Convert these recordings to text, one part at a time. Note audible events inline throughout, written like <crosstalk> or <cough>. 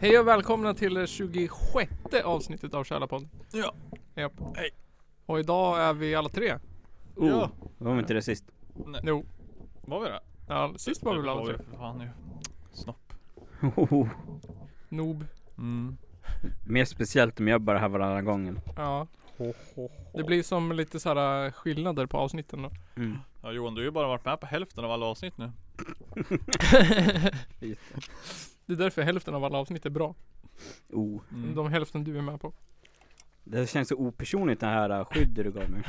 Hej och välkomna till det 26 avsnittet av Källarpodden. Ja. Japp. Hej. Och idag är vi alla tre. Oh, Ja. var vi inte det sist? Jo. Var vi det? Ja, sist var vi väl alla var tre. vi för fan ju. Snopp. Hohoho. Nob. Mm. Oh, Mer speciellt om jag bara här varannan gången. Ja. Det blir som lite så här äh, skillnader på avsnitten då. Mm. Ja Johan, du har ju bara varit med på hälften av alla avsnitt nu. Det är därför hälften av alla avsnitt är bra. Oh. Mm. De hälften du är med på. <laughs> Det känns så opersonligt det här äh, skyddet du gav mig.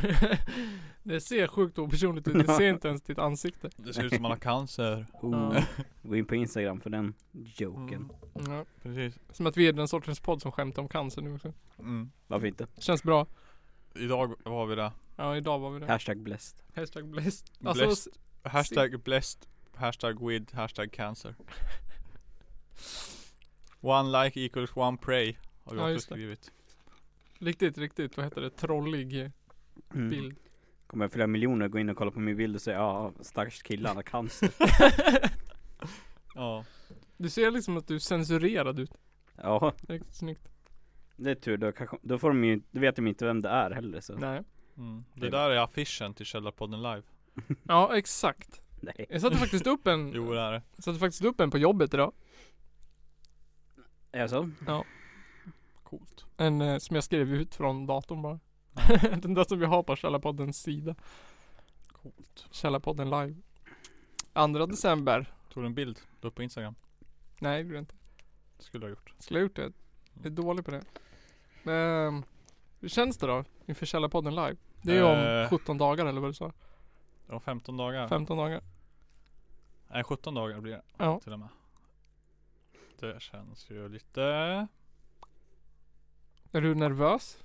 Det ser sjukt opersonligt ut. Det ser inte ens ditt ansikte. Det ser ut som man har cancer. Oh. Gå in på Instagram för den joken. Mm. Ja. Precis. Som att vi är den sortens podd som skämtar om cancer nu också. Mm. Varför inte? Känns bra. Idag var vi det. Ja, idag var vi det. Hashtag blessed. Hashtag blessed. Alltså, Blessed. Hashtag blessed. Hashtag with. Hashtag cancer. One like equals one pray. Har vi Ja, också just det. skrivit. Riktigt, riktigt, vad heter det? Trollig eh, bild. Mm. Kommer flera miljoner gå in och kolla på min bild och säga ja, stackars killar, han har cancer. Ja. Du ser liksom att du är censurerad ut. ja, Det är Riktigt snyggt. det är tur. Då, kanske, då får de ju, då vet de inte vem det är heller så. Nej. Mm. Det Det- där är affischen till Källarpodden live. Ja, exakt. Nej. Jag satte faktiskt upp en, <laughs> Jo det är det. satte faktiskt upp en på jobbet idag. Är det så? Coolt. En eh, som jag skrev ut från datorn bara. <laughs> Den där som vi har på Källarpoddens sida. Coolt. Källarpodden live. 2 december. Tog du en bild? Du upp på Instagram? Nej, det gjorde jag inte. Det skulle du ha gjort. Skulle jag ha gjort det? Jag är dålig på det. Ehm, hur känns det då? Inför Källarpodden live? Det är ju om Eh. 17 dagar eller vad du sa? Om 15 dagar. 15 dagar. Nej 17 dagar blir det Ja. till och med. Det känns ju lite... Är du nervös?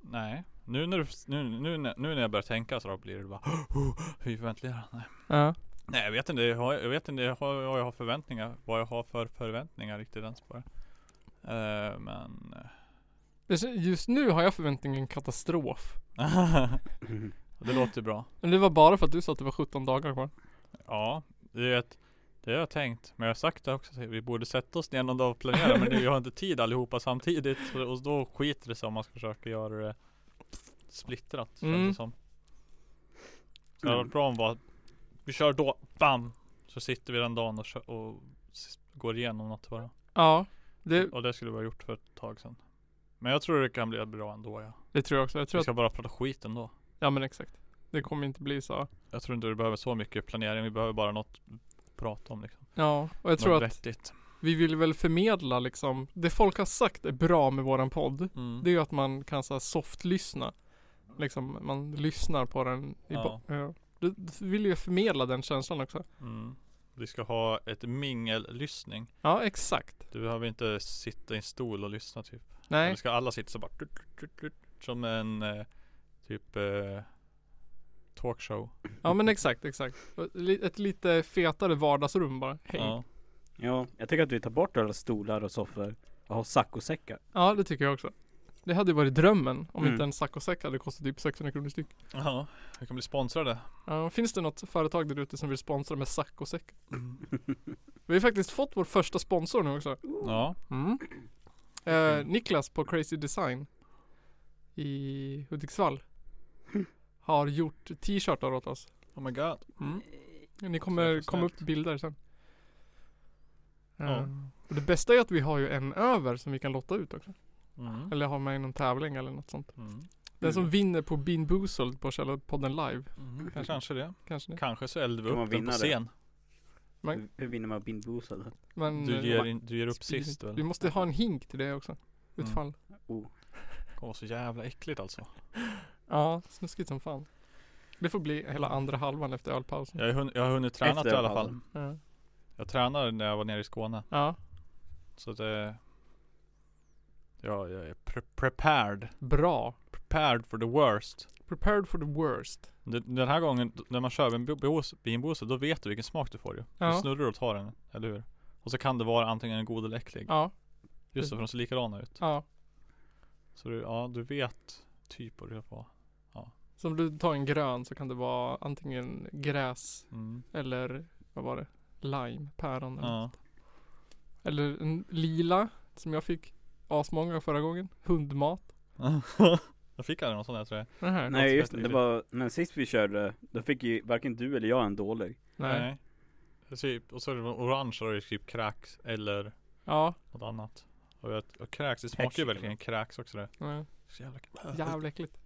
Nej. Nu när, du, nu, nu, när- nu när jag börjar tänka så då blir det bara oh, Hur ventilerar Nej. Ja. Nej jag vet inte, jag, har, jag vet inte jag har, vad jag har förväntningar. Vad jag har för förväntningar riktigt ens på det. Eh, men... <laughs> Det kän- Just nu har jag förväntningen katastrof. Mm. det låter bra. Men det var bara för att du sa att det var 17 dagar kvar. Ja, det är ett det har jag tänkt, men jag har sagt det också, att vi borde sätta oss ner någon dag och planera men nu, vi har inte tid allihopa samtidigt och, och då skiter det sig om man ska försöka göra det splittrat känns Mm. det som. Så det hade varit bra om bara, vi kör då, bam! Så sitter vi den dagen och, kör, och s- går igenom något bara. Ja. Det, Och det skulle vi ha gjort för ett tag sedan. Men jag tror det kan bli bra ändå ja. det tror jag också. Jag tror Vi att, ska bara prata skit ändå. ja men exakt. Det kommer inte bli så. Jag tror inte vi behöver så mycket planering, vi behöver bara något att prata om liksom. Ja, och jag tror något att vettigt. vi vill väl förmedla liksom, det folk har sagt är bra med våran podd. Mm. Det är ju att man kan så här, soft-lyssna. Liksom, man lyssnar på den i Ja. bo- ja. Du, du vill ju förmedla den känslan också. Mm. Vi ska ha ett mingellyssning. Ja, exakt. Du behöver inte sitta i en stol och lyssna typ. Nej. Eller ska alla sitta så bara tut, tut, tut, tut, som en eh, typ eh, talkshow. Ja men exakt, exakt. Och li- Ett lite fetare vardagsrum bara. Hej. Ja. Ja. Ja, jag tycker att du tar bort alla stolar och soffor och har saccosäckar. ja, det tycker jag också. Det hade ju varit drömmen om Mm. inte en saccosäck hade kostat typ 600 kronor styck. ja, vi kommer bli <clears throat> sponsrade. Ja, finns det något företag där ute som vill sponsra med saccosäck? Vi har ju faktiskt fått vår första sponsor nu också. Ja, Mm. Mm. Eh, Niklas på Crazy Design i Hudiksvall har gjort t-shirtar åt oss. oh my god. Mm. Ni Så kommer jäkla komma upp snällt. bilder sen. Eh, Ja. och det bästa är att vi har ju en över som vi kan lotta ut också. Mm. Eller ha med i någon tävling eller något sånt. Mm. Den som vinner på Bean Boozled på Källarpodden live Mm. Kanske det. kanske det. Kanske så eldar vi Kan man upp den på vinna det? scen. Hur, hur vinner man bindbosel? Men, eh, Du ger, in, du ger upp Sprid- sist väl? Mm. Vi Det måste ha en hink till det också. Utfall. Oh. kommer vara så jävla äckligt alltså. Ja, snuskigt som fan. Det får bli hela andra halvan efter ölpausen. Jag har hunnit, jag har hunnit träna i Efter alla fall. pallen. Ja. Jag tränade när jag var nere i Skåne. ja. Så det... Ja, jag är pre- prepared. Bra. Prepared for the worst. Prepared for the worst. Den den här gången d- när man kör en beanbose, då vet du vilken smak du får ju. Ja. Du snurrar och tar den, eller hur? Och så kan det vara antingen god eller äcklig. Ja, Just det, för de ser likadana ut. ja. Så du, ja, du vet typ vad du får. Så om du tar en grön så kan det vara antingen gräs Mm. eller vad var det? Lime, päron eller Ja. Eller en lila som jag fick asmånga förra gången. Hundmat. <laughs> jag fick aldrig någon sån där tror jag. Den här? låter Nej just det, väldigt det var, men sist vi körde, då fick ju varken du eller jag en dålig. Nej. Typ, och så är det orange och det är typ kräks eller Ja. något annat. Och, jag, och kräks, det smakar ju Persika. verkligen kräks också det. Nej. Så jävla <laughs> Jävla äckligt.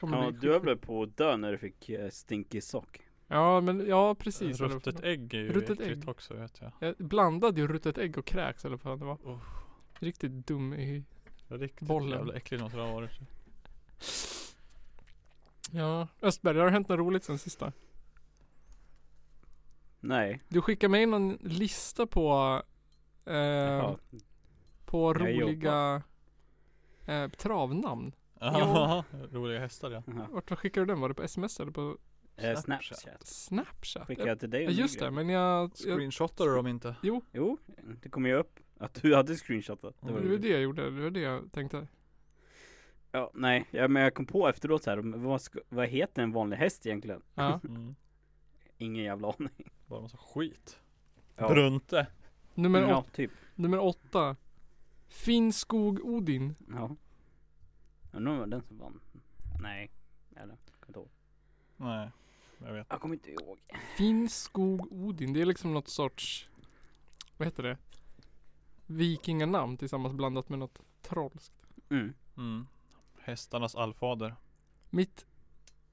Kommer Ja, bli du var skit- väl på att dö när du fick eh, stinkig sock? Ja, men ja precis. eller vad Ruttet fan. ägg är ju Ruttet äckligt ägg. också vet jag. Jag blandade ju ruttet ägg och kräks eller vad fan det var. Oh. Riktigt dum i... Riktigt Bollen. jävla äckligt något det har varit. Ja. Östberg, har det hänt något roligt sen sista? Nej. Du skickade mig någon lista på... Eh, Jaha. på Jag roliga... Eh, travnamn. <laughs> Ja, roliga hästar ja. Jaha. Vart vart skickade du den? Var det på sms eller på Eh, Snapchat. Snapchat. Snapchat? Skickade jag till dig Ja, en ny just grej. det, men jag... jag Screenshotar du dem inte? Jo, det kom ju upp att du hade screenshotat. det Det var Mm. var roligt. det jag gjorde, det var det jag tänkte. Ja, nej, ja, men jag kom på efteråt så här, vad, sk- vad heter en vanlig häst egentligen? Ja. Mm. Ingen jävla aning. Bara massa skit. Ja. Brunte. Nummer, <laughs> ja, åt, typ. nummer åtta. Finnskog Odin. Ja. Undrar om det var den som vann. Nej. Eller, kommer inte ihåg. Nej, jag vet. Jag kommer inte ihåg. Finnskog Odin, det är liksom något sorts... Vad heter det? Vikinganamn tillsammans blandat med något trolskt. Mm. Mm. Hästarnas allfader. Mitt...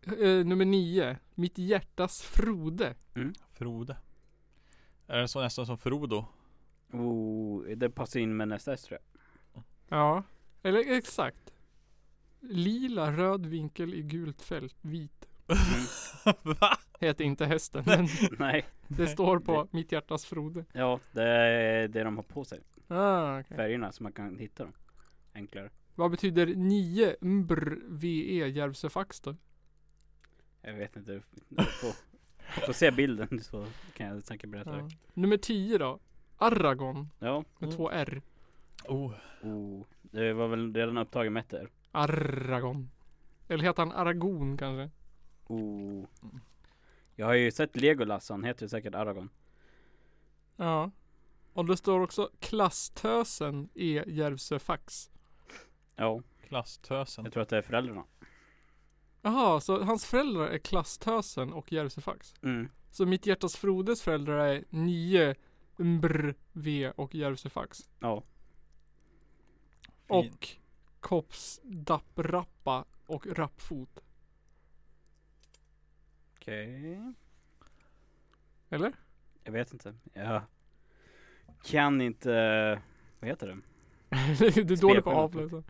Eh, nummer nio. Mitt hjärtas Frode. Frode. Är det så nästan som Frodo? <laughs> Oh, det passar in med nästa häst tror jag. <laughs> Ja. Eller exakt. Lila röd vinkel i gult fält, vit. Va? Heter inte hästen, <laughs> men Nej. det står på mitt hjärtas Frode. Ja, det är det de har på sig. Ah, okej. Färgerna så man kan hitta dem. Enklare. Vad betyder 9 mbr E, VE Järvsöfax då? Jag vet inte. Du får, du får se bilden så kan jag säkert berätta. Ja. det. Nummer 10 då. Aragon Ja. med Mm. två R. Oh. Oh, det var väl redan upptagen med ett R. Aragon. Eller heter han Aragon kanske? Oh. Jag har ju sett Legolas, han heter ju säkert Aragorn. Ja. Och det står också Klasstösen E Järvsöfax. Ja, Klasstösen. jag tror att det är föräldrarna. Jaha, så hans föräldrar är Klasstösen och Järvsöfax. Mm. Så mitt hjärtas Frodes föräldrar är 9 mbr V och Järvsöfax. Ja, Fin. Och Kopps Dapprappa och Rappfot. okej. Eller? <laughs> Jag vet inte. Jag kan inte, vad heter det? du är dålig på Spelschemat. avläsa.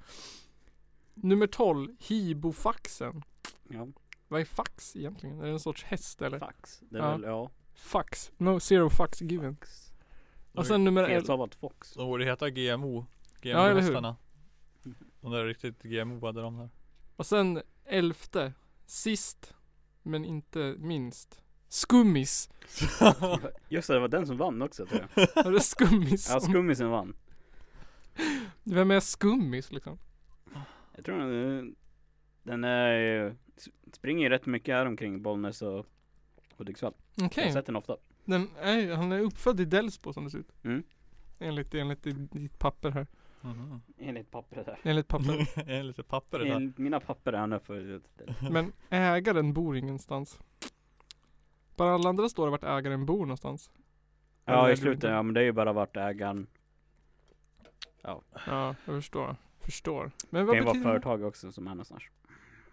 Nummer 12, Hibofaxen. Ja, Vad är fax egentligen? Är det en sorts häst eller? fax. Det är Ja. väl, ja. Fax. No zero fax given. Fax. Och sen nummer 11. Felstavat fox. De borde heta GMO. Alltså- Ja, eller hur? GMO-hästarna. De där riktigt GMO-ade <laughs> de där. Och sen elfte. Sist men inte minst. Skummis. Just det, det var den som vann också tror jag. Är det skummis? Ja, skummisen vann. Vem är skummis liksom? Jag tror den, den är ju, springer ju rätt mycket här omkring Bollnäs och Hudiksvall. Jag Okej. har sett den ofta. Den är, han är uppfödd i Delsbo som det ser ut. Mm. Enligt, enligt ditt ditt papper här. Mhm. Enligt pappret där. Enligt <laughs> papper. Är lite papper det där. Enligt mina papper är han uppfödd. <laughs> Men ägaren bor ingenstans. Bara alla andra står det vart ägaren bor någonstans. Ja Eller i slutet, ja men det är ju bara vart ägaren Ja, jag förstår. Förstår. Men Det vad kan ju vara betyder, företag också som är någonstans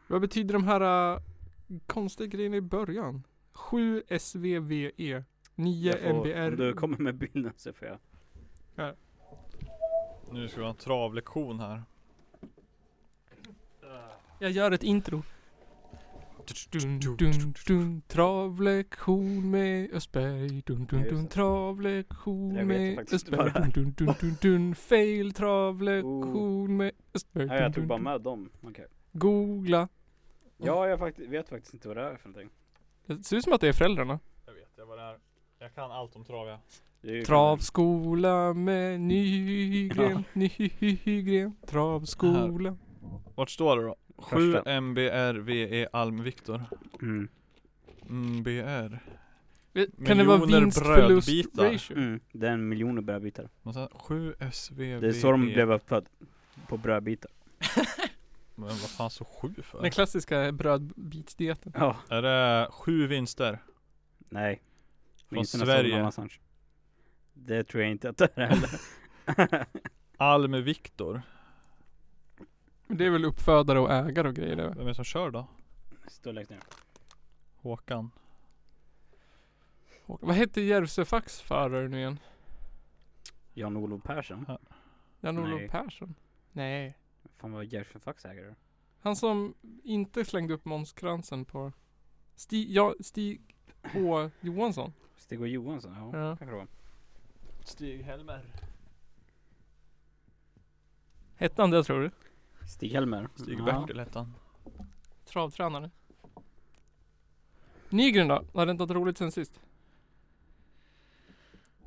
vad betyder de här äh, konstiga grejerna i början? 7 SVVE 9 Jag får- Om du MBR kommer med bilden så får jag Nu ska vi ha en travlektion här. Jag gör ett intro. Dun, dun, dun, travlektion med Östberg. Dun, dun, dun, Ja, just det. Det där travlektion vet jag med faktiskt inte Östberg. vad det Dun, dun, dun, dun, dun, fail travlektion med Östberg. Ja Dun, jag dun, tog bara dun. med dem, okej Googla. Ja jag fakti- vet faktiskt inte vad det är för någonting Det ser ut som att det är föräldrarna. Jag vet, jag var där. Jag kan allt om trav jag. Det är ju- Travskola med Nygren, Nygren. Travskola. Vart står det då? 7 Första. MBRVE E Alm Viktor. Mm. MBR. Kan det vara Miljoner vinst-förlust brödbitar. ratio? Mm. Det är en miljon brödbitar. 7 SVVE. Det är så de blev uppfödda. På brödbitar. Men vad fan så 7 för? Den klassiska brödbitsdieten. Ja. Är det 7 vinster? Nej. Från Vinsterna såg Sverige. någon annanstans. Det tror jag inte att det är heller. <laughs> Alm Viktor. Men Det är väl uppfödare och ägare och grejer det va? Vem är det som kör då? Står längst ner. Håkan. Och- Vad hette Järvsöfaks förare nu igen? Jan-Olof Persson. Nej. Jan-Olof Persson? Nej. Fan vad Gershon Fax äger då. Han som inte slängde upp Måns Krantzen på Stig, ja, Stig H Johansson. Stig och Johansson. Ja, Ja. kanske det var. Stig Helmer. Hette han det tror du? Stig-Helmer. Stig-Bertil hette han. Travtränare. Nygren då? Har det inte varit roligt sen sist?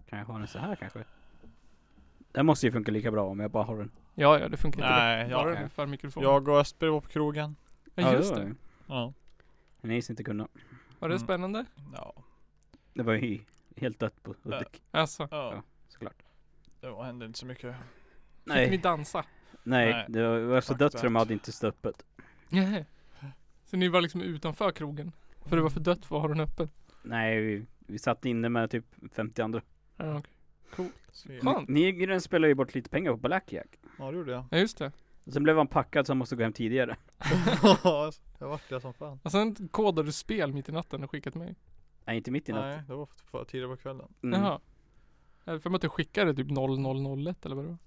Kan jag ha den så här kanske? Den måste ju funka lika bra om jag bara har den. Ja, ja det funkar inte. Nej, Bara jag, det blir för mikrofon. Ja, jag och Östberg var på krogen. just det. Ja. Den gissar inte kunna. Var det Mm. spännande? ja. Det var ju helt dött Äh. på Hudik Alltså, Ja, såklart. det var- hände inte så mycket. fick ni Nej, dansa? nej, Nej. det var, det var så Fuck dött that. så de hade inte stöppet. Nej. Så ni var liksom utanför krogen? För det var för dött för att ha den öppen? Nej, vi, vi satt inne med typ 50 andra. Ja, okej. Svea. Fan. Nigren spelade ju bort lite pengar på Blackjack. Ja det gjorde jag. Ja, just det. Och sen blev han packad så han måste gå hem tidigare. Ja, <laughs> jag vart det som fan. Och Alltså, sen kodade du spel mitt i natten och skickade till mig. Nej, inte mitt i natten. Nej, det var för- för tidigare på kvällen. Mm. Jaha. Jag hade för mig att du skickade typ 0001 eller vad det var.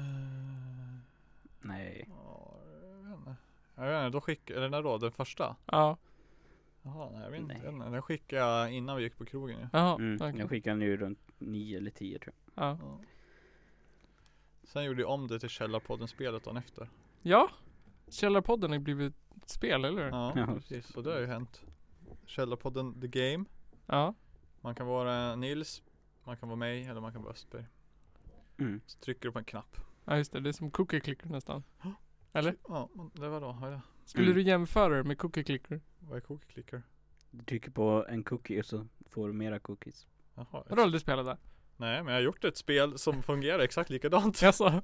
Eh, Nej. ja, jag vet inte. Jag vet inte, då skickade, eller när då? Den första? Ja, Jaha, nej jag vet inte. Nej. Jag vet inte. Den skickade jag innan vi gick på krogen ju. jaha. Mm. okej. Jag skickade nu runt 9 eller 10 tror jag. ja. Ja. Sen gjorde jag om det till Källarpodden-spelet dagen efter. ja, Källarpodden har blivit ett spel, eller hur? Ja. Ja, Ja. precis. Så det har ju hänt. Källarpodden The Game. ja. Man kan vara Nils, man kan vara mig eller man kan vara Östberg. Mm. Så trycker du på en knapp. just det. Det är som Cookie Clicker nästan. Eller? Ja, men det var då. Vad är det? Skulle Mm. du jämföra det med Cookie Clicker? Vad är cookie clicker? Du trycker på en cookie och så får du mera cookies. Jaha. Har du aldrig spelat det? Nej, men jag har gjort ett spel <laughs> som fungerar exakt likadant. Jaså?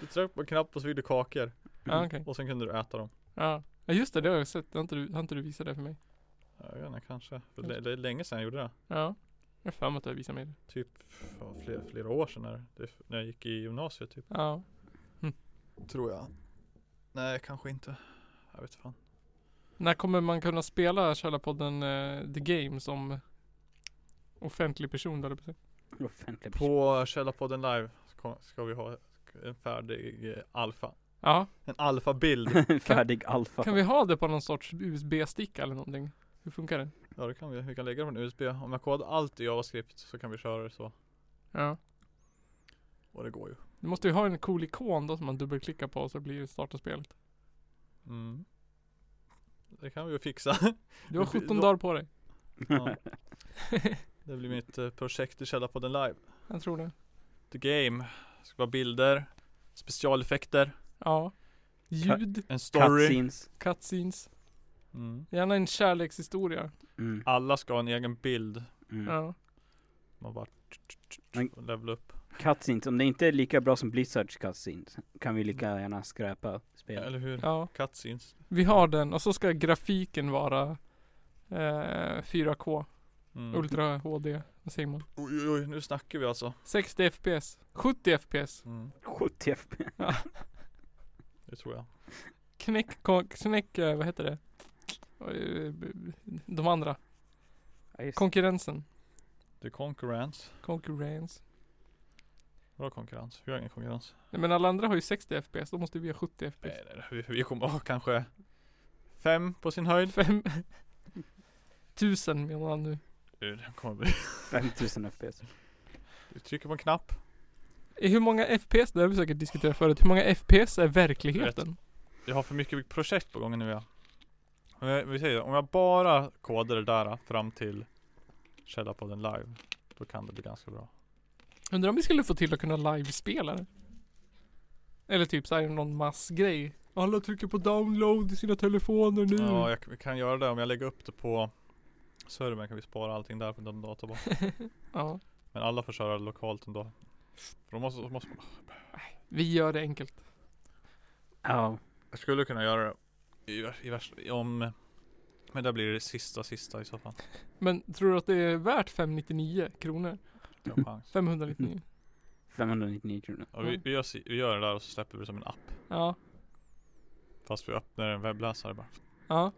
Du tryckte på en knapp och så fick du kakor. Mm. Ja, okej. Och sen kunde du äta dem. Ja. ja, just det. Det har jag sett. Det har inte du, har inte du visat det för mig? Ja, Jag vet inte, kanske. För det, det är länge sedan jag gjorde det. Ja. Jag har för mig att du har visat mig det. Typ ja, flera, flera år sedan när, det, när jag gick i gymnasiet typ. Ja. Tror jag. Nej, kanske inte. Jag vet fan. När kommer man kunna spela Källarpodden eh, The Game som offentlig person? Där uppe? Offentlig person. På Källarpodden live ska, ska vi ha en färdig eh, alfa. Ja. En alfabild. <laughs> <laughs> Färdig alfa. Kan vi ha det på någon sorts USB-sticka eller någonting? Hur funkar det? ja, det kan vi. Vi kan lägga den på en USB. Om jag kodar allt i JavaScript så kan vi köra det så. Ja. Och det går ju. Du måste ju ha en cool ikon då som man dubbelklickar på så blir det starta spelet. Mm. Det kan vi ju fixa. Du har Det blir- 17 dagar på dig. Ja. <laughs> Det blir mitt eh, projekt i Källarpodden live. Jag tror det. The game. Det ska vara bilder, specialeffekter, Ja. Ljud, en story. <laughs> Cutscenes. cutscenes, Mm. gärna en kärlekshistoria. Mm. Alla ska ha en egen bild. Mm. Ja. Man bara Men- level upp. Cutscenes, om det inte är lika bra som Blizzards cutscenes kan vi lika gärna skräpa spelet. Eller hur? ja. Cutscenes. Vi har den och så ska grafiken vara eh, 4K, Mm. Ultra HD, vad säger man? Oj, oj, oj, nu snackar vi alltså. 60 FPS, 70 FPS. Mm. 70 FP. Det tror jag. Knäck, kon- knäck, eh, vad heter det? Eh, b- b- De andra. Ja, just. Konkurrensen. Det är konkurrens. Konkurrens. Bra konkurrens. Vi har ingen konkurrens. Nej, men alla andra har ju 60 FPS, då måste vi ha 70 FPS. Nej, nej, nej. Vi, vi kommer ha kanske fem på sin höjd. Fem. <laughs> Tusen menar han nu. Det kommer bli. 5000 FPS. Du trycker på en knapp. Hur många FPS, det har vi säkert diskuterat förut, hur många FPS är verkligheten? Jag har för mycket projekt på gång nu ja. Om jag, vi säger, om jag bara kodar det där äh, fram till Källarpodden live. Då kan det bli ganska bra. Undrar om vi skulle få till att kunna livespela det? Eller typ såhär någon massgrej. Alla trycker på download i sina telefoner nu. Ja, jag k- kan göra det om jag lägger upp det på servern kan vi spara allting där på den databasen. Ja. Men alla får köra det lokalt ändå. För de måste, måste, Vi gör det enkelt. Ja. jag skulle kunna göra det i, vär- i värsta, i- om men där blir det sista sista i så fall. Men tror du att det är värt 599 kronor? Det har chans. 599? 599 kronor. Och vi, vi, gör, si- vi gör det där och så släpper vi det som en app. Ja. Fast vi öppnar en webbläsare bara. Ja.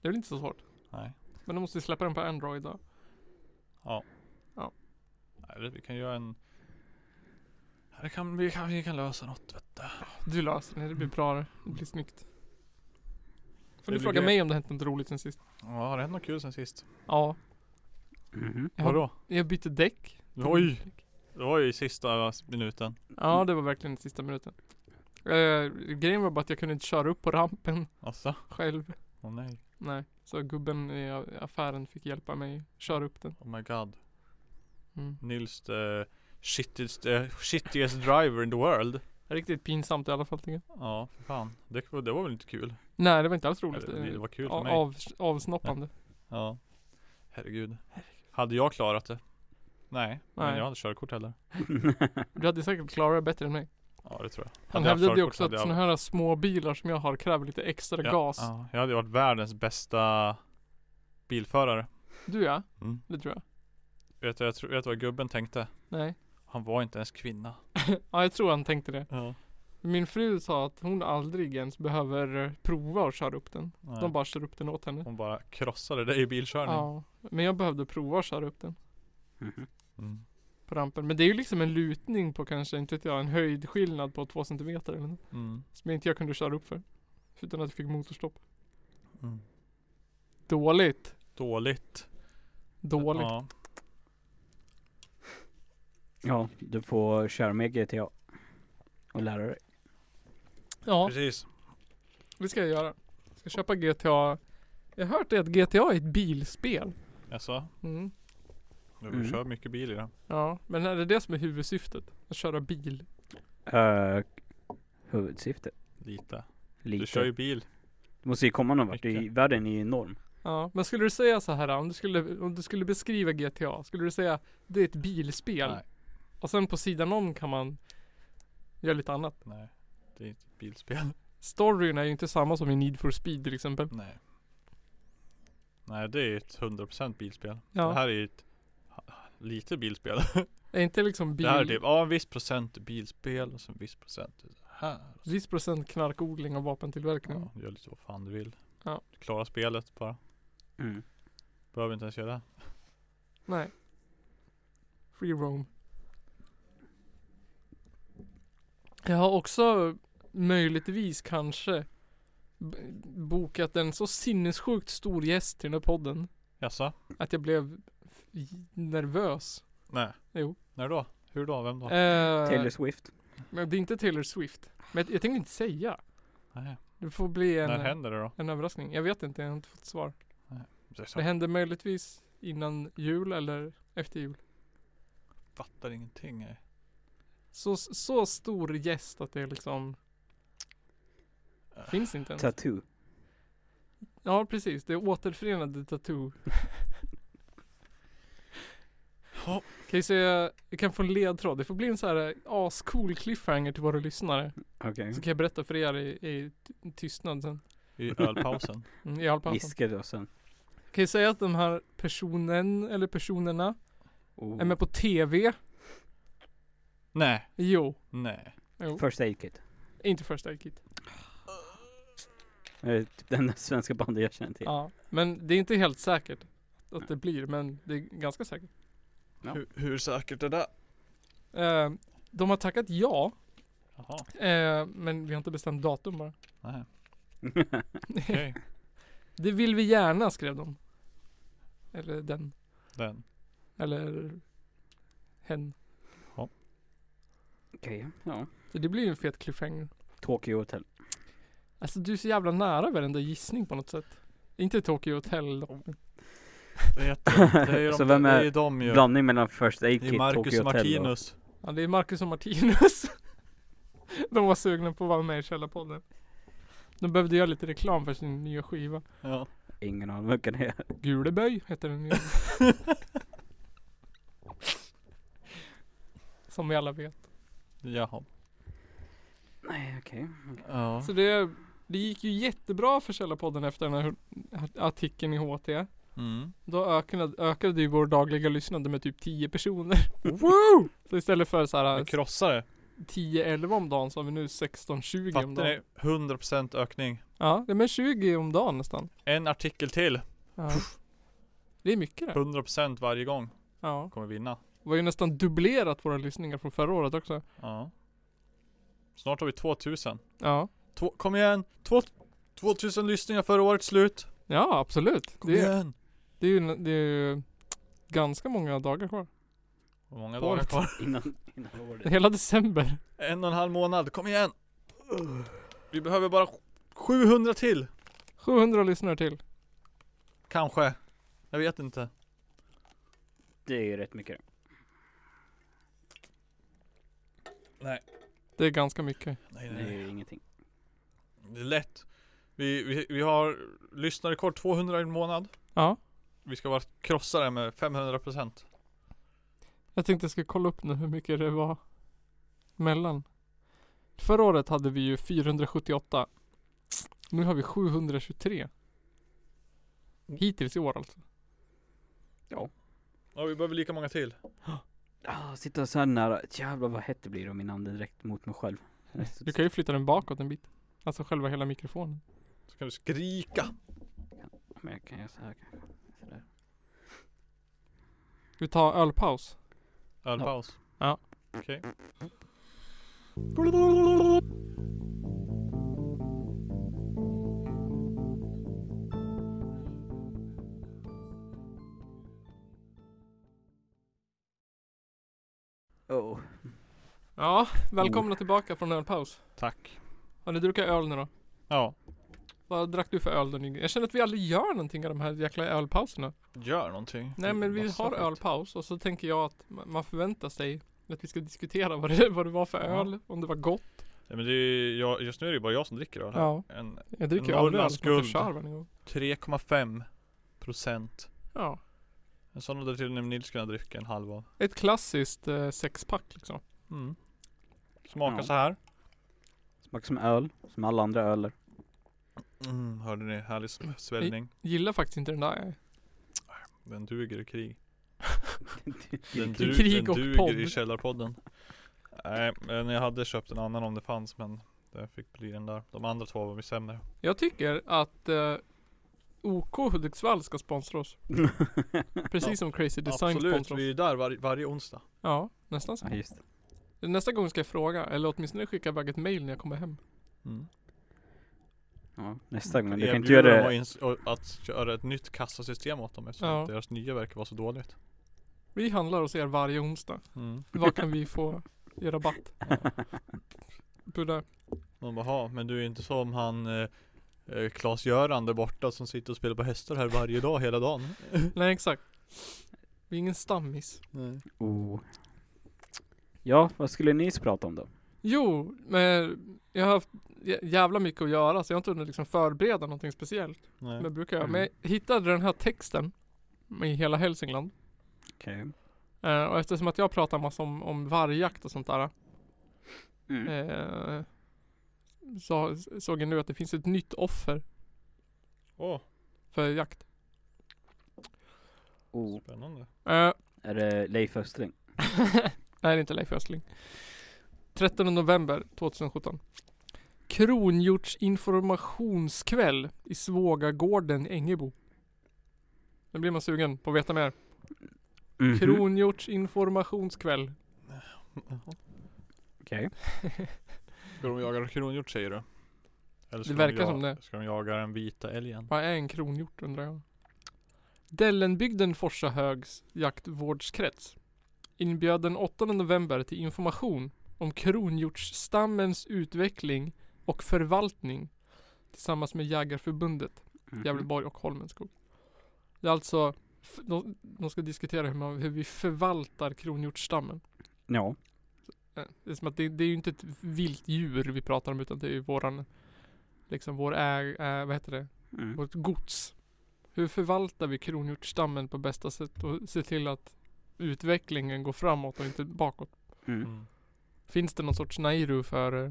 Det är väl inte så svårt. Nej. Men då måste vi släppa den på Android då. Eller vi kan göra en Ja, det kan, vi, kan, vi kan lösa något vet du. Du löser det, det blir bra. Det blir snyggt. Får Det du blir fråga gre- mig om det hänt något roligt sen sist? Ja, har det hänt något kul sen sist? Ja. Mhm. Jag, Vadå? jag bytte däck. Oj! Det var ju sista minuten. Ja, det var verkligen den sista minuten. Eh, grejen var bara att jag kunde inte köra upp på rampen <laughs> Asså? själv. Åh nej. Nej, så gubben i a- affären fick hjälpa mig köra upp den. Oh my god. Mm. Nils the shittiest, eh, shittiest driver in the world. Riktigt pinsamt i alla fall tycker jag. Ja, för fan. Det, var- det var väl inte kul? Nej, det var inte alls roligt. Eller, det Eh, var kul för av, mig. av, avsnoppande. Ja. Herregud. Hade jag klarat det? Nej, men Nej. jag hade inte körkort heller. Du hade säkert klarat det bättre än mig. Ja, det tror jag. Han Hade jag haft hävdade ju körkort också att hade jag- sådana här små bilar som jag har kräver lite extra Ja, gas. Ja, jag hade ju varit världens bästa bilförare. Du ja, Mm. det tror jag. Vet du jag tror- vet du vad gubben tänkte? Nej. Han var inte ens kvinna. Ja, jag tror han tänkte det. Ja. Min fru sa att hon aldrig ens behöver eh, prova att köra upp den. Nej. De bara kör upp den åt henne. Hon bara krossade dig i bilkörning. Ja, men jag behövde prova att köra upp den Mhm. Mm. på rampen. Men det är ju liksom en lutning på kanske, inte vet jag, en höjdskillnad på två centimeter eller något. Mm. Som inte jag kunde köra upp för. Utan att jag fick motorstopp. Mm. Dåligt. Dåligt. Dåligt. Ja. <laughs> Ja, du får köra med GTA. Och lära dig. Ja, Precis. det ska jag göra. Jag ska köpa GTA. Jag har hört det att GTA är ett bilspel. Jaså? Mm. Du Mm. kör mycket bil i den. Ja, men är det det som är huvudsyftet? Att köra bil? Uh, huvudsyfte. Lite. Lite. Du kör ju bil. Det måste ju komma någon vart. Det är ju- Världen är ju enorm. Ja, men skulle du säga så här om du skulle, om du skulle beskriva GTA, skulle du säga det är ett bilspel? Nej. Och sen på sidan om kan man göra lite annat. Nej. Det är inte ett bilspel. <laughs> Storyn är ju inte samma som i Need for Speed till exempel. Nej. Nej det är ett 100% bilspel. Ja. Det här är ju ett ha- lite bilspel. <laughs> Är inte liksom bil, Det här är typ, ja en viss procent bilspel och så en viss procent är det här. viss procent knarkodling och vapentillverkning? Ja, du gör lite vad fan du vill. Mm. Ja. Du klarar spelet bara. Mm. Behöver inte ens göra det. Nej. Free roam. Jag har också möjligtvis kanske b- bokat en så sinnessjukt stor gäst till den här podden Jaså? att jag blev f- nervös. Nej. Jo. När då? Hur då? Vem då? Eh, Taylor Swift. men det är inte Taylor Swift. Men jag, jag tänkte inte säga. Nej. Det får bli När en, händer det då? en överraskning. Jag vet inte, jag har inte fått svar. Det är så- Det händer möjligtvis innan jul eller efter jul. fattar ingenting. eh. Så, så stor gäst att det liksom finns inte ens. Tattoo. Ja precis, det är återförenade Tattoo. Ja. Kan ju säga, jag kan få en ledtråd. Det får bli en så här eh, ascool cliffhanger till våra lyssnare. Okej. Så kan jag berätta för er i, i ty- tystnad sen. I ölpausen. Mm, I all pausen. Viskar du sen. Kan ju säga att de här personen, eller personerna, Oh. är med på TV. Nej. Jo. Nej. jo. First Aid Kit. Inte First Aid Kit. Det är typ den svenska bandet jag känner till. Ja. Men det är inte helt säkert att det blir, men det är ganska säkert. Ja. Hur, hur säkert är det? Eh, de har tackat ja, Jaha. eh, men vi har inte bestämt datum bara. Nej. Okej. <laughs> det vill vi gärna, skrev de. Eller den. Den. Eller hen. <laughs> Okej, ja. Så det blir ju en fet cliffhanger. Tokyo Hotel. Alltså du är så jävla nära varenda gissning på något sätt. Inte Tokyo Hotel dock. Vet du, det är ju de, Så vem det är är ju de ju. Blandning mellan First Aid Det är Kit, Marcus Tokyo och Hotel och... Martinus. <laughs> Ja, det är Marcus och Martinus. de var sugna på att vara med i Källarpodden. De behövde göra lite reklam för sin nya skiva. Ja. Ingen aning vilken det är. Guleböj heter den ju. Som vi alla vet. Jaha. Nej okej. Ja. Så det, det gick ju jättebra för Källarpodden efter den här artikeln i HT. Mm. Då ökade, ökade ju vår dagliga lyssnande med typ 10 personer. Woo! Så istället för så här Jag krossar det. 10-11 om dagen så har vi nu 16-20 om Fattar dagen. ni? 100% ökning. Ja, det är med 20 om dagen nästan. En artikel till. Ja. Det är mycket det. 100% varje gång. Ja. Kommer vinna. Vi har ju nästan dubblerat våra lyssningar från förra året också. Ja. Snart har vi 2000. Ja. Två, kom igen! Två, 2000 lyssningar förra året slut. Ja, absolut. Kom Det är, igen! det, är ju, det är ju ganska många dagar kvar. Hur många Året. dagar kvar? Innan, innan året. Hela december. En och en halv månad. Kom igen! Vi behöver bara 700 till. 700 lyssnare till. Kanske. Jag vet inte. Det är ju rätt mycket. Nej. Det är ganska mycket. Nej, Det nej, är nej. ju ingenting. Det är lätt. Vi, vi, vi har lyssnarrekord 200 i en månad. Ja. Vi ska bara krossa det med 500%. Jag tänkte jag skulle kolla upp nu hur mycket det var mellan. Förra året hade vi ju 478. Nu har vi 723. Hittills i år alltså. Ja, vi behöver lika många till. Ah, sitta så här nära. Jävlar vad hett det blir om min andedräkt mot mig själv. Mm. Du kan ju flytta den bakåt en bit. Alltså själva hela mikrofonen. Så kan du skrika. Men jag kan göra så här. Så där. Vi tar ölpaus. Ölpaus. Ja. Okej. Oh. Ja, välkomna tillbaka från ölpaus. Tack. Har ni druckit öl nu då? Ja. Vad drack du för öl då Nygren? Jag känner att vi aldrig gör någonting av de här jäkla ölpauserna. Gör någonting. Nej men vi Massa har skit. ölpaus och så tänker jag att ma- man förväntar sig att vi ska diskutera vad det, vad det var för Ja. öl, om det var gott. Nej, men det är ju, jag, just nu är det ju bara jag som dricker öl här. Ja. En Jag dricker ju En aldrig öl som heter Norrlandsguld. Tjarven en gång. 3,5 procent. Ja. En sån hade till och med Nils kunnat dricka en halv av. Ett klassiskt eh, sexpack liksom. Mm. Smakar Ja. så här. Smakar som öl. Som alla andra <laughs> öler. Mm, hörde ni? Härlig sv- sväljning. Gillar faktiskt inte den där. Den duger i krig. <laughs> Det är Den, kul. du, krig den och duger podd. i källarpodden. Nej, men jag hade köpt en annan om det fanns men det fick bli den där. De andra två var ju sämre. Jag tycker att eh, OK Hudiksvall ska sponsra oss. Precis Ja, som Crazy Design Absolut, sponsrar vi är oss. ju där var, varje onsdag. Ja, nästan så. Ja just det. Nästa gång ska jag fråga, eller åtminstone skicka iväg ett mail när jag kommer hem. Mm. Ja, nästa gång. Men du kan inte Erbjuder göra dem det. att ins- och att göra ett nytt kassasystem åt dem eftersom Ja. att deras nya verkar vara så dåligt. Vi handlar hos er varje onsdag. Mm. Vad kan vi få i rabatt? Budde. De bara, "Ha, men du är inte som han eh, eh, Klas-Göran där borta som sitter och spelar på hästar här varje dag hela <laughs> dagen. Nej exakt. Vi är ingen stammis. Nej. Oh. Ja, vad skulle ni prata om då? Jo, men jag har haft jä- jävla mycket att göra så jag har inte hunnit liksom förbereda någonting speciellt. Nej. Men jag brukar jag. Mm. Men jag hittade den här texten i hela Hälsingland. Okej. Eh, och eftersom att jag pratar massa om, om vargjakt och sånt där. Mm. Eh, så, såg jag nu att det finns ett nytt offer Åh, för jakt. Oh. spännande. Eh, Är det Leif Östling? <laughs> Nej, det är inte Leif Östling. 13 november 2017. Kronhjorts informationskväll i Svågagården i Ängebo. Nu blir man sugen på att veta mer. Mhm. Kronhjorts informationskväll. Okej. Ska de jaga kronhjort säger du? Eller ska Det de verkar ja- som det. Ska de jaga den vita älgen? Vad är en kronhjort undrar jag? Dellenbygden Forsa Högs jaktvårdskrets. Inbjöd den 8 november till information om kronhjortsstammens utveckling och förvaltning tillsammans med Jägarförbundet. Mm. Mhm. Gävleborg och Holmenskog. Det är alltså, f- de, de ska diskutera hur, man, hur vi förvaltar kronhjortsstammen. Ja. Eh, Det är som att det, det är ju inte ett vilt djur vi pratar om utan det är ju våran liksom vår äg, äh, vad heter det? Mm. vårt gods. Hur förvaltar vi kronhjortsstammen på bästa sätt och ser till att utvecklingen går framåt och inte bakåt? Mm. Mm. Finns det någon sorts Nairu för eh,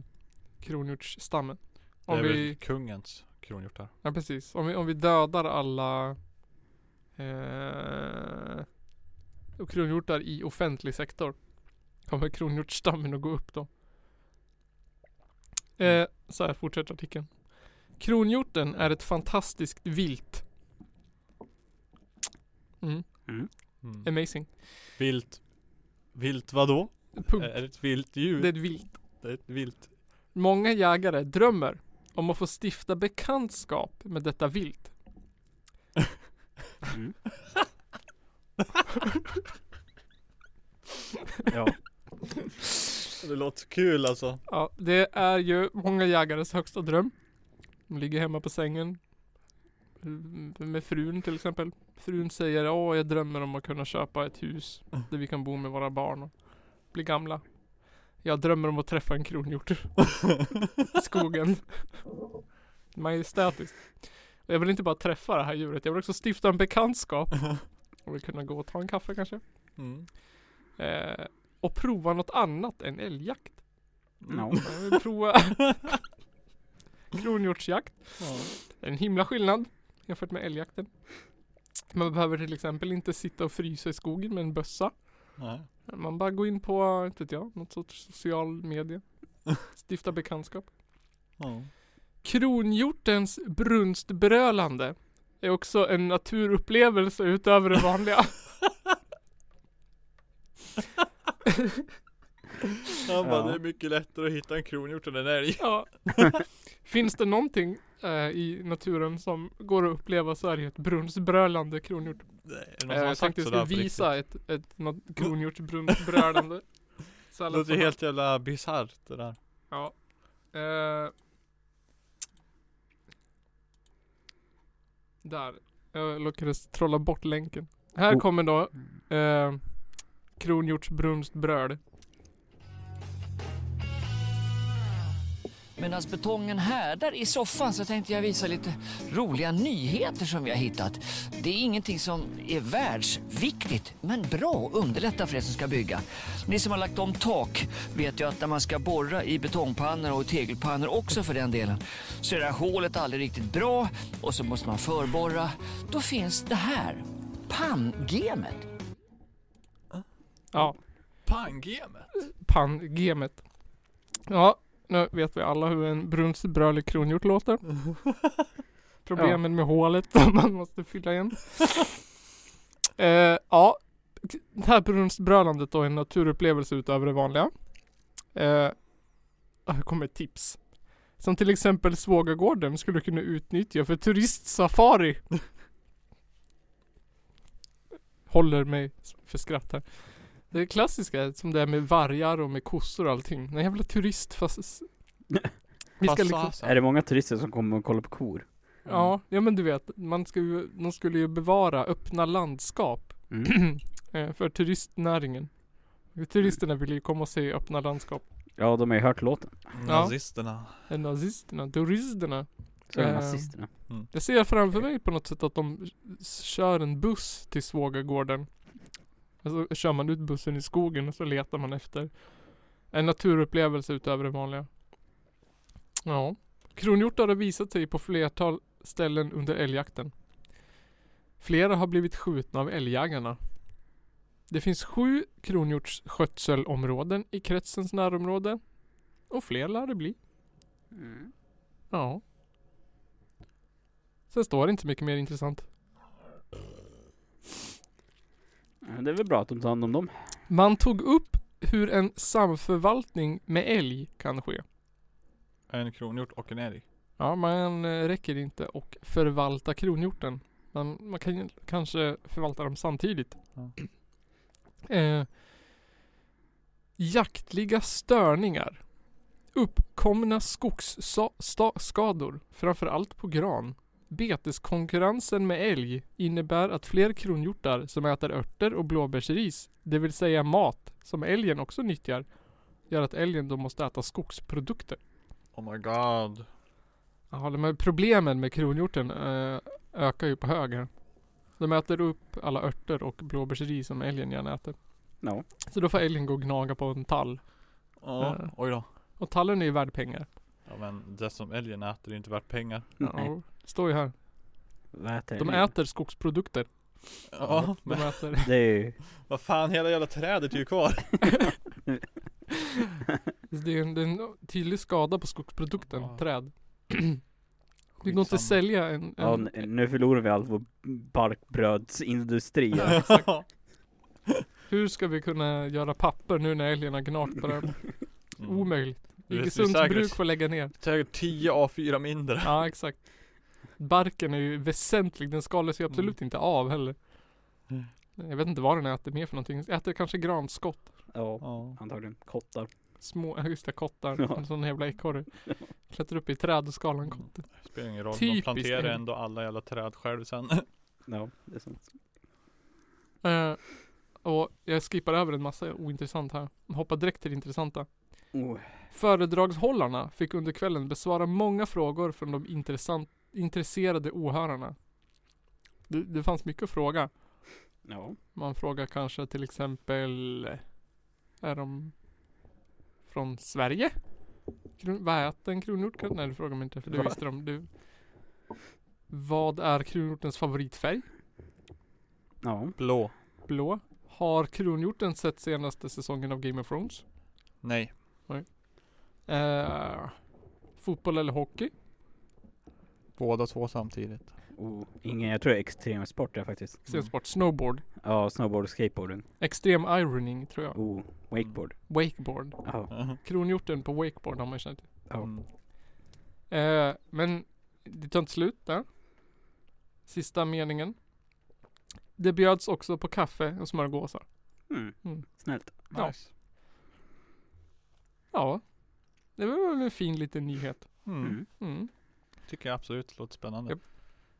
kronhjortsstammen? Det är Om vi, väl kungens kronhjortar. ja precis, om vi, om vi dödar alla eh, kronhjortar i offentlig sektor. Kommer kronhjortsstammen att gå upp då? Eh, så här fortsätter artikeln. Kronhjorten är ett fantastiskt vilt. Mm. Mm. Amazing. Vilt. Vilt vadå? Punkt. Är det ett vilt Det är djur? ett vilt. Det är ett vilt. Många jägare drömmer om att få stifta bekantskap med detta vilt. Mm. <laughs> Ja. Det låter kul alltså. Ja, det är ju många jägares högsta dröm. De ligger hemma på sängen. mm, Med frun till exempel. Frun säger åh jag drömmer om att kunna köpa ett hus där vi kan bo med våra barn och bli gamla. Jag drömmer om att träffa en kronhjort i skogen. Majestätiskt. Och Jag vill inte bara träffa det här djuret, jag vill också stifta en bekantskap. Och vill kunna gå och ta en kaffe kanske. Mm. Eh, och prova något annat än älgjakt. No. Jag vill Eh, prova kronhjortsjakt. Ja. En himla skillnad jämfört med älgjakten. Man behöver till exempel inte sitta och frysa i skogen med en bössa. Nej. Man bara går in på, inte vet jag, något sorts social media. Stifta bekantskap. Ja. Kronhjortens brunstbrölande är också en naturupplevelse utöver det vanliga. Han bara, Ja. det är mycket lättare att hitta en kronhjort än en älg. Ja. Finns det någonting eh, i naturen som går att uppleva så är det ju ett brunstbrölande kronhjort. Nej, är det någon som Eh, har Jag sagt tänkte jag sådär skulle på riktigt? visa ett, ett <laughs> något kronhjortsbrunt brölande. Så Det alla låter ju får- helt jävla bisarrt det där. Ja. Eh. Där. Jag lyckades trolla bort länken. Här Oh. kommer då Mm. eh, kronhjortsbrunst bröd. Medan betongen härdar i soffan så tänkte jag visa lite roliga nyheter som vi har hittat. Det är ingenting som är världsviktigt, men bra och underlättar för er som ska bygga. Ni som har lagt om tak vet ju att när man ska borra i betongpannor och tegelpannor också för den delen, så är det här hålet aldrig riktigt bra och så måste man förborra. Då finns det här, panngemet. Ja. Pangemet! Pangemet. Ja. Nu vet vi alla hur en brunst brölig kronhjort låter. Problemen med hålet <laughs> som man måste fylla igen. eh, ja, det här brunstbrölandet då är en naturupplevelse utöver det vanliga. Eh, här kommer ett tips. Som till exempel Svågagården skulle kunna utnyttja för turistsafari. <laughs> Håller mig för skratt här. Det klassiska som det är med vargar och med kossor och allting. Den jävla turist fast... Vi ska liksom... Passasa. Är det många turister som kommer och kollar på kor? Ja, ja men du vet, man ska ju, de skulle ju bevara öppna landskap Mm. eh, för turistnäringen. Turisterna vill ju komma och se öppna landskap. <clears throat> Ja, de har ju hört låten. Mm. Ja. Nazisterna. Eh, Nazisterna, turisterna. Så är det Eh. nazisterna. Jag ser framför mig på något sätt att de s- kör en buss till Svågagården. Alltså kör man ut bussen i skogen och så letar man efter en naturupplevelse utöver det vanliga. Ja. Kronhjortar har visat sig på flertal ställen under älgjakten. Flera har blivit skjutna av älgjägarna. Det finns sju kronhjortsskötselområden i kretsens närområde. Och fler lär det bli. Mm. Ja. Sen står det inte mycket mer intressant. Ja, Det är väl bra att de tar hand om dem. Man tog upp hur en samförvaltning med älg kan ske. En kronhjort och en älg. Ja, man eh, räcker inte och förvalta kronhjorten. Men man kan ju kanske förvalta dem samtidigt. Ja. Eh, jaktliga störningar. Uppkomna skogsskador, framförallt på gran. Beteskonkurrensen med älg innebär att fler kronhjortar som äter örter och blåbärsris, det vill säga mat som älgen också nyttjar, gör att älgen då måste äta skogsprodukter. Oh my god. Ja, de här problemen med kronhjorten eh, ökar ju på höger. De äter upp alla örter och blåbärsris som älgen gärna äter. Ja. Så då får älgen gå och gnaga på en tall. Ja, Ja. oj då. Och tallen är ju värd pengar. Ja men det som älgen äter är ju inte värt pengar. Mm. Ja, och står ju här. Vad äter De älgen? äter skogsprodukter. Ja, De men äter Det är ju... vad fan hela jävla trädet är ju kvar. Det är, en, det är en tydlig skada på skogsprodukten, Ja. <clears throat> träd. Det går inte att Skitsamma. sälja en... en Ja, n- nu förlorar vi all vår <laughs> barkbrödsindustri. Ja, exakt. Hur ska vi kunna göra papper nu när älgen har gnagt på den? Mm. Omöjligt. Det är Iggesunds säkert. bruk får lägga ner. Säkert 10 A4 mindre. Ja, exakt. Barken är ju väsentlig. Den skalas ju absolut inte av heller. Mm. Jag vet inte vad den äter mer för någonting. Äter kanske granskott. Ja, Ja. antagligen. Kottar. Små, <laughs> just det, kottar. Ja. En sån jävla ekorre. Klättrar upp i ett träd och skalar en kotte. Det spelar ingen roll, Typiskt de planterar älg. ändå alla jävla träd själv sen. Ja, det är sant. Eh, och jag skippar över en massa ointressant här. Hoppar direkt till det intressanta. Oh, Föredragshållarna fick under kvällen besvara många frågor från de intressant, intresserade åhörarna. Det, det fanns mycket att fråga. ja. Man frågar kanske till exempel Är de från Sverige? Kron, vad äter en kronhjort? Kan- Nej det frågar man inte för det Va? visste de. Du. Vad är kronhjortens favoritfärg? Ja. Blå. Blå. Har kronhjorten sett senaste säsongen av Game of Thrones? Nej. Eh, fotboll eller hockey? Båda två samtidigt. Oh, ingen, jag tror det är extremsport det faktiskt. Extremsport. Snowboard. Ja, snowboard och skateboarding. Extrem ironing tror jag. Oh, wakeboard. Wakeboard. Ja. Kronhjorten på wakeboard har man ju känt. Ja. Mm. Eh, men det tar inte slut där. Sista meningen. Det bjöds också på kaffe och smörgåsar. Mm. Mm. Snällt. Ja. Nice. Ja, det var väl en fin liten nyhet. Mm. Mm. Mm. Tycker jag absolut låter spännande. Japp.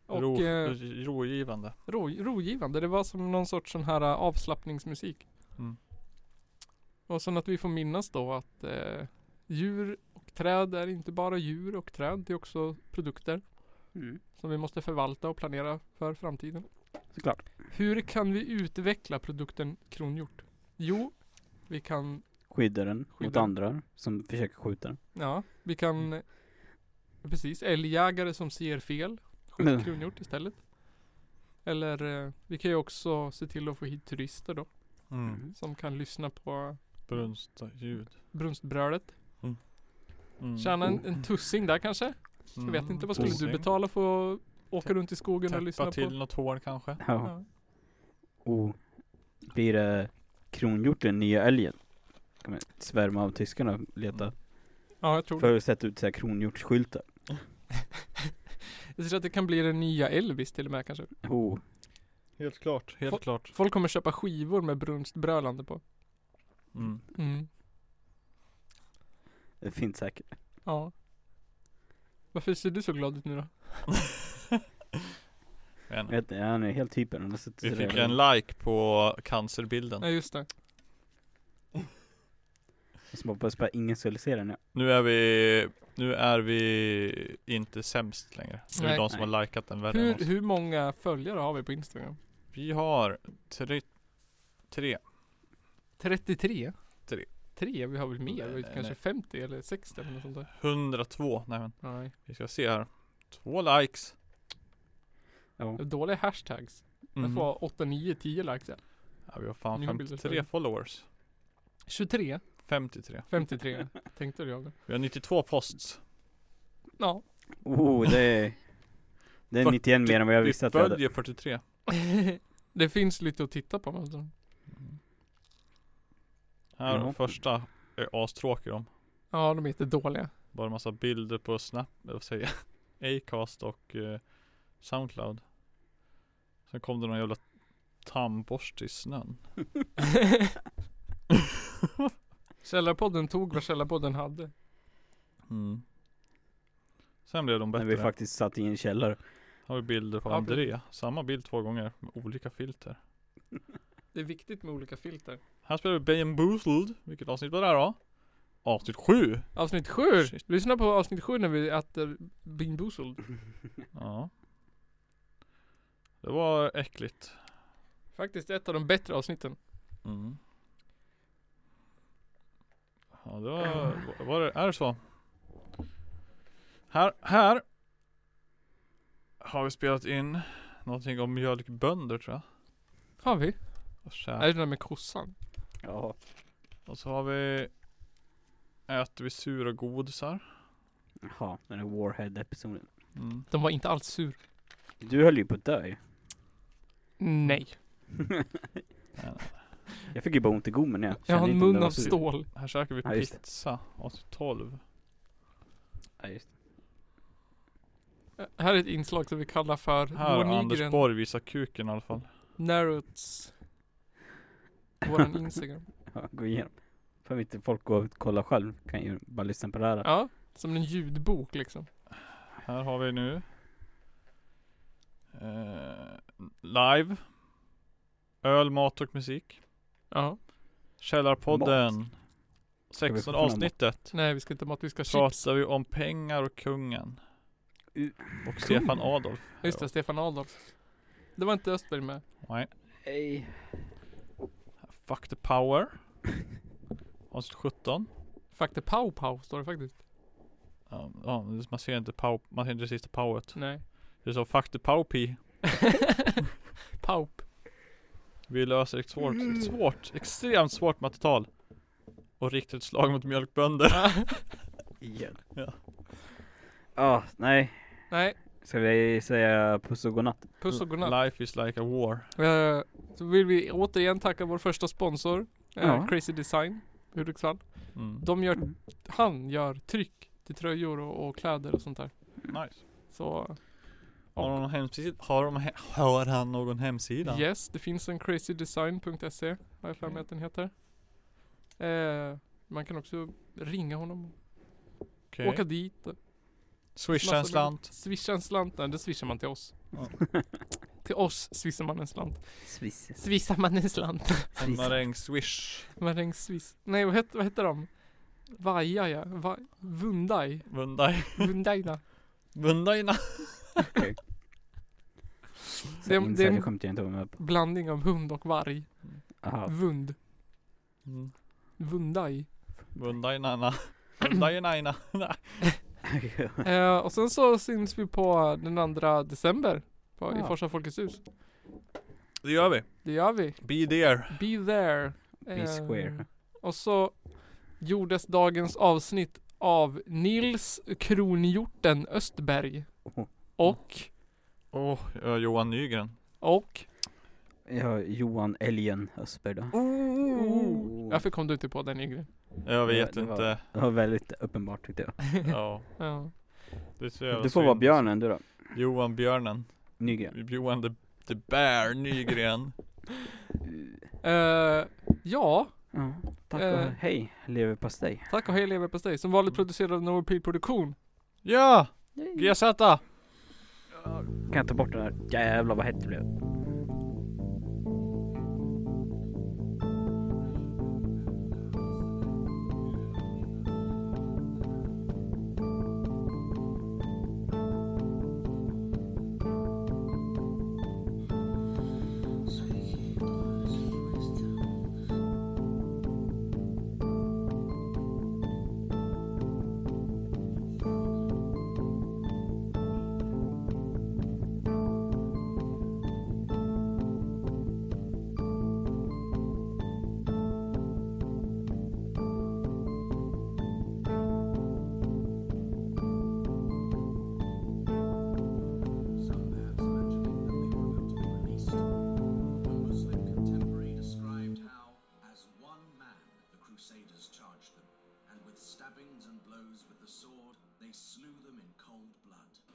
Och Ro, eh, rogivande. ro, rogivande. Det var som någon sorts sån här eh, avslappningsmusik. Mm. Och sen att vi får minnas då att eh, djur och träd är inte bara djur och träd. Det är också produkter Mm. som vi måste förvalta och planera för framtiden. Såklart. Hur kan vi utveckla produkten kronhjort? Jo, vi kan, Skydda den mot Skydda. andra som försöker skjuta den. ja, vi Mm. kan eh, Precis, älgjägare som ser fel skjuter Mm. kronhjort istället. Eller eh, vi kan ju också se till att få hit turister då Mm. som kan lyssna på Brunstljud. brunstbrölet. Mm. Tjäna en, en tussing där kanske? Jag vet inte, vad skulle du betala för att åka runt i skogen och lyssna Täppa till på? något hål kanske. Ja. Ja. Oh. Blir det kronhjorten, nya älgen? Kommer svärma av tyskarna och leta. Mm. ja, jag tror det. För att sätta ut så här kronhjortsskyltar. Jag tror att det kan bli den nya Elvis till och med kanske. Oh. Helt klart. Helt Få- klart. Folk kommer köpa skivor med brunstbrölande på. Mm. Mm. Det finns säkert. Ja. Varför ser du så glad ut nu då? Men, Jag vet inte, han är helt hyper. Han har suttit vi så fick där. en like på cancerbilden. Ja just det. Som hoppas på att ingen skulle se den. Ja. Nu är vi, nu är vi inte sämst längre. Nu är Nej. det de som Nej. har likat den värre än Hur, oss. hur många följare har vi på Instagram? Vi har tre, tre. 33? Tre. 3? Vi har väl mer? Nej, Vi har nej, kanske nej. 50 eller 60 eller något sånt där. 102. Nej men, Nej. vi ska se här. Två likes. Ja. Det är Dåliga hashtags. Mhm. Jag får 8, 9, 10 likes. ja. Ja, vi har fan Mm. Nya bilder 53 större. followers. 23? 53. 53 tänkte jag. Vi har 92 posts. Ja. <laughs> Oh, det är... Det är 91 mer än vad jag Vi visste att vi hade. följer 43. det finns lite att titta på. Alltså. Här Ja. första är astråkig de. Ja, de är inte dåliga. Bara massa bilder på Snap, eller vad säger jag? <laughs> Acast och eh, Soundcloud. Sen kom det någon jävla tandborste <laughs> i snön. Källarpodden tog vad Källarpodden hade. Mm. Sen blev de När vi bättre. faktiskt satt i en källare. <laughs> Har vi bilder på Ja, André. Samma bild två gånger med olika filter. Det är viktigt med olika filter. Här spelar vi Bayern Boozled. Vilket avsnitt var det här då? Avsnitt 7! Avsnitt 7! Shit. Lyssna på avsnitt 7 när vi äter Bean Boozled. Ja. Det var äckligt. Faktiskt ett av de bättre avsnitten. Mm. Ja, det var, var det, är det så? Här, här har vi spelat in någonting om mjölkbönder tror jag. Har vi? Och, Är det kär. den där med kossan? Ja, och så har vi Äter vi sura godisar? jaha, den här Warhead-episoden. Mm. Den var inte alls sur. Du höll ju på att dö ju. <laughs> Nej. Jag fick ju bara ont i gommen jag. Jag kände har en inte om det mun var av sur. stål. Här käkar vi Ja, just det. pizza, avsnitt 12. Ja, just det. Äh, Här är ett inslag som vi kallar för Här Vår har Anders Nygren Borg visar kuken i alla fall. Narrows. Våran <laughs> Instagram. Ja, gå igenom. För inte folk går och kollar själv. Kan ju bara lyssna på det här. Ja. Som en ljudbok liksom. Här har vi nu eh, Live Öl, mat och musik Ja. Källarpodden vi få 16 fram mat? avsnittet Nej vi ska inte ha mat, vi ska ha chips. Pratar vi om pengar och kungen U- Och Stefan Adolf Just det, Stefan Adolf. Det var inte Östberg med. Nej Hej. Fuck the power Avsnitt 17 Fuck the pow pow står det faktiskt. Ja, ja, Man ser inte pow, man ser inte det sista powet Nej. Det är så fuck the pow pee <laughs> Paup. Vi löser ett svårt, Mm. ett svårt, extremt svårt mattetal Och riktigt slag mot mjölkbönder Igen. Ja. Ja, nej. Nej. Ska vi säga puss och godnatt? Puss och godnatt. Life is like a war Eh, Så vill vi återigen tacka vår första sponsor. eh, Ja. Crazy Design. Hudiksvall. mm. De gör, Mm. han gör tryck till tröjor och, och kläder och sånt där. Nice. Så Har, de någon hemsida? Har, de he- har han någon hemsida? yes, det finns en crazydesign.se har jag för mig att den heter. Eh, man kan också ringa honom, Okej. åka dit. Swisha en Massa- slant. Swisha en slant. Nej, det swishar man till oss. Ja. <laughs> till oss swishar man en slant. Swiss. Swishar man en slant. En maräng swish. man ring swiss. Nej, vad heter, vad heter de? Vaja ja. Va- Vundai. Vundai. Vundaina. Vundaina. Det är- det är- Insiderskämt jag inte var med på. Blandning av hund och varg. <laughs> Aha. <laughs> Vund. Mm. Vundai. Vundainana. Vundainaina. Eh, och sen så syns vi på den 2 december på, i Ja. Forsa Folkets hus. Det gör vi. Det gör vi. Be there. Be there. Eh, Be square. Och så gjordes dagens avsnitt av Nils Kronhjorten Östberg. Oho. Och, Åh, oh, Johan Nygren. och, Ja, Johan Elgen Östberg då. oh. Varför kom du inte på den Yngre? Jag vet det var- <laughs> inte. Det var väldigt uppenbart tyckte jag. Ja. Ja. Det är så jävla Du får synd. vara björnen du då. Johan Björnen. Nygren. Johan the, the Bear Nygren. Eh, ja, Ja, tack och Eh. hej leverpastej. tack och hej leverpastej. Som vanligt Mm. producerad av Normal Peel Produktion. ja! Kan GZ! jag ta bort den här? Jävlar vad hett det blev. Some maps mentioning that they were meant to be released. One Muslim contemporary described how, as one man, the Crusaders charged them, and with stabbings and blows with the sword, they slew them in cold blood.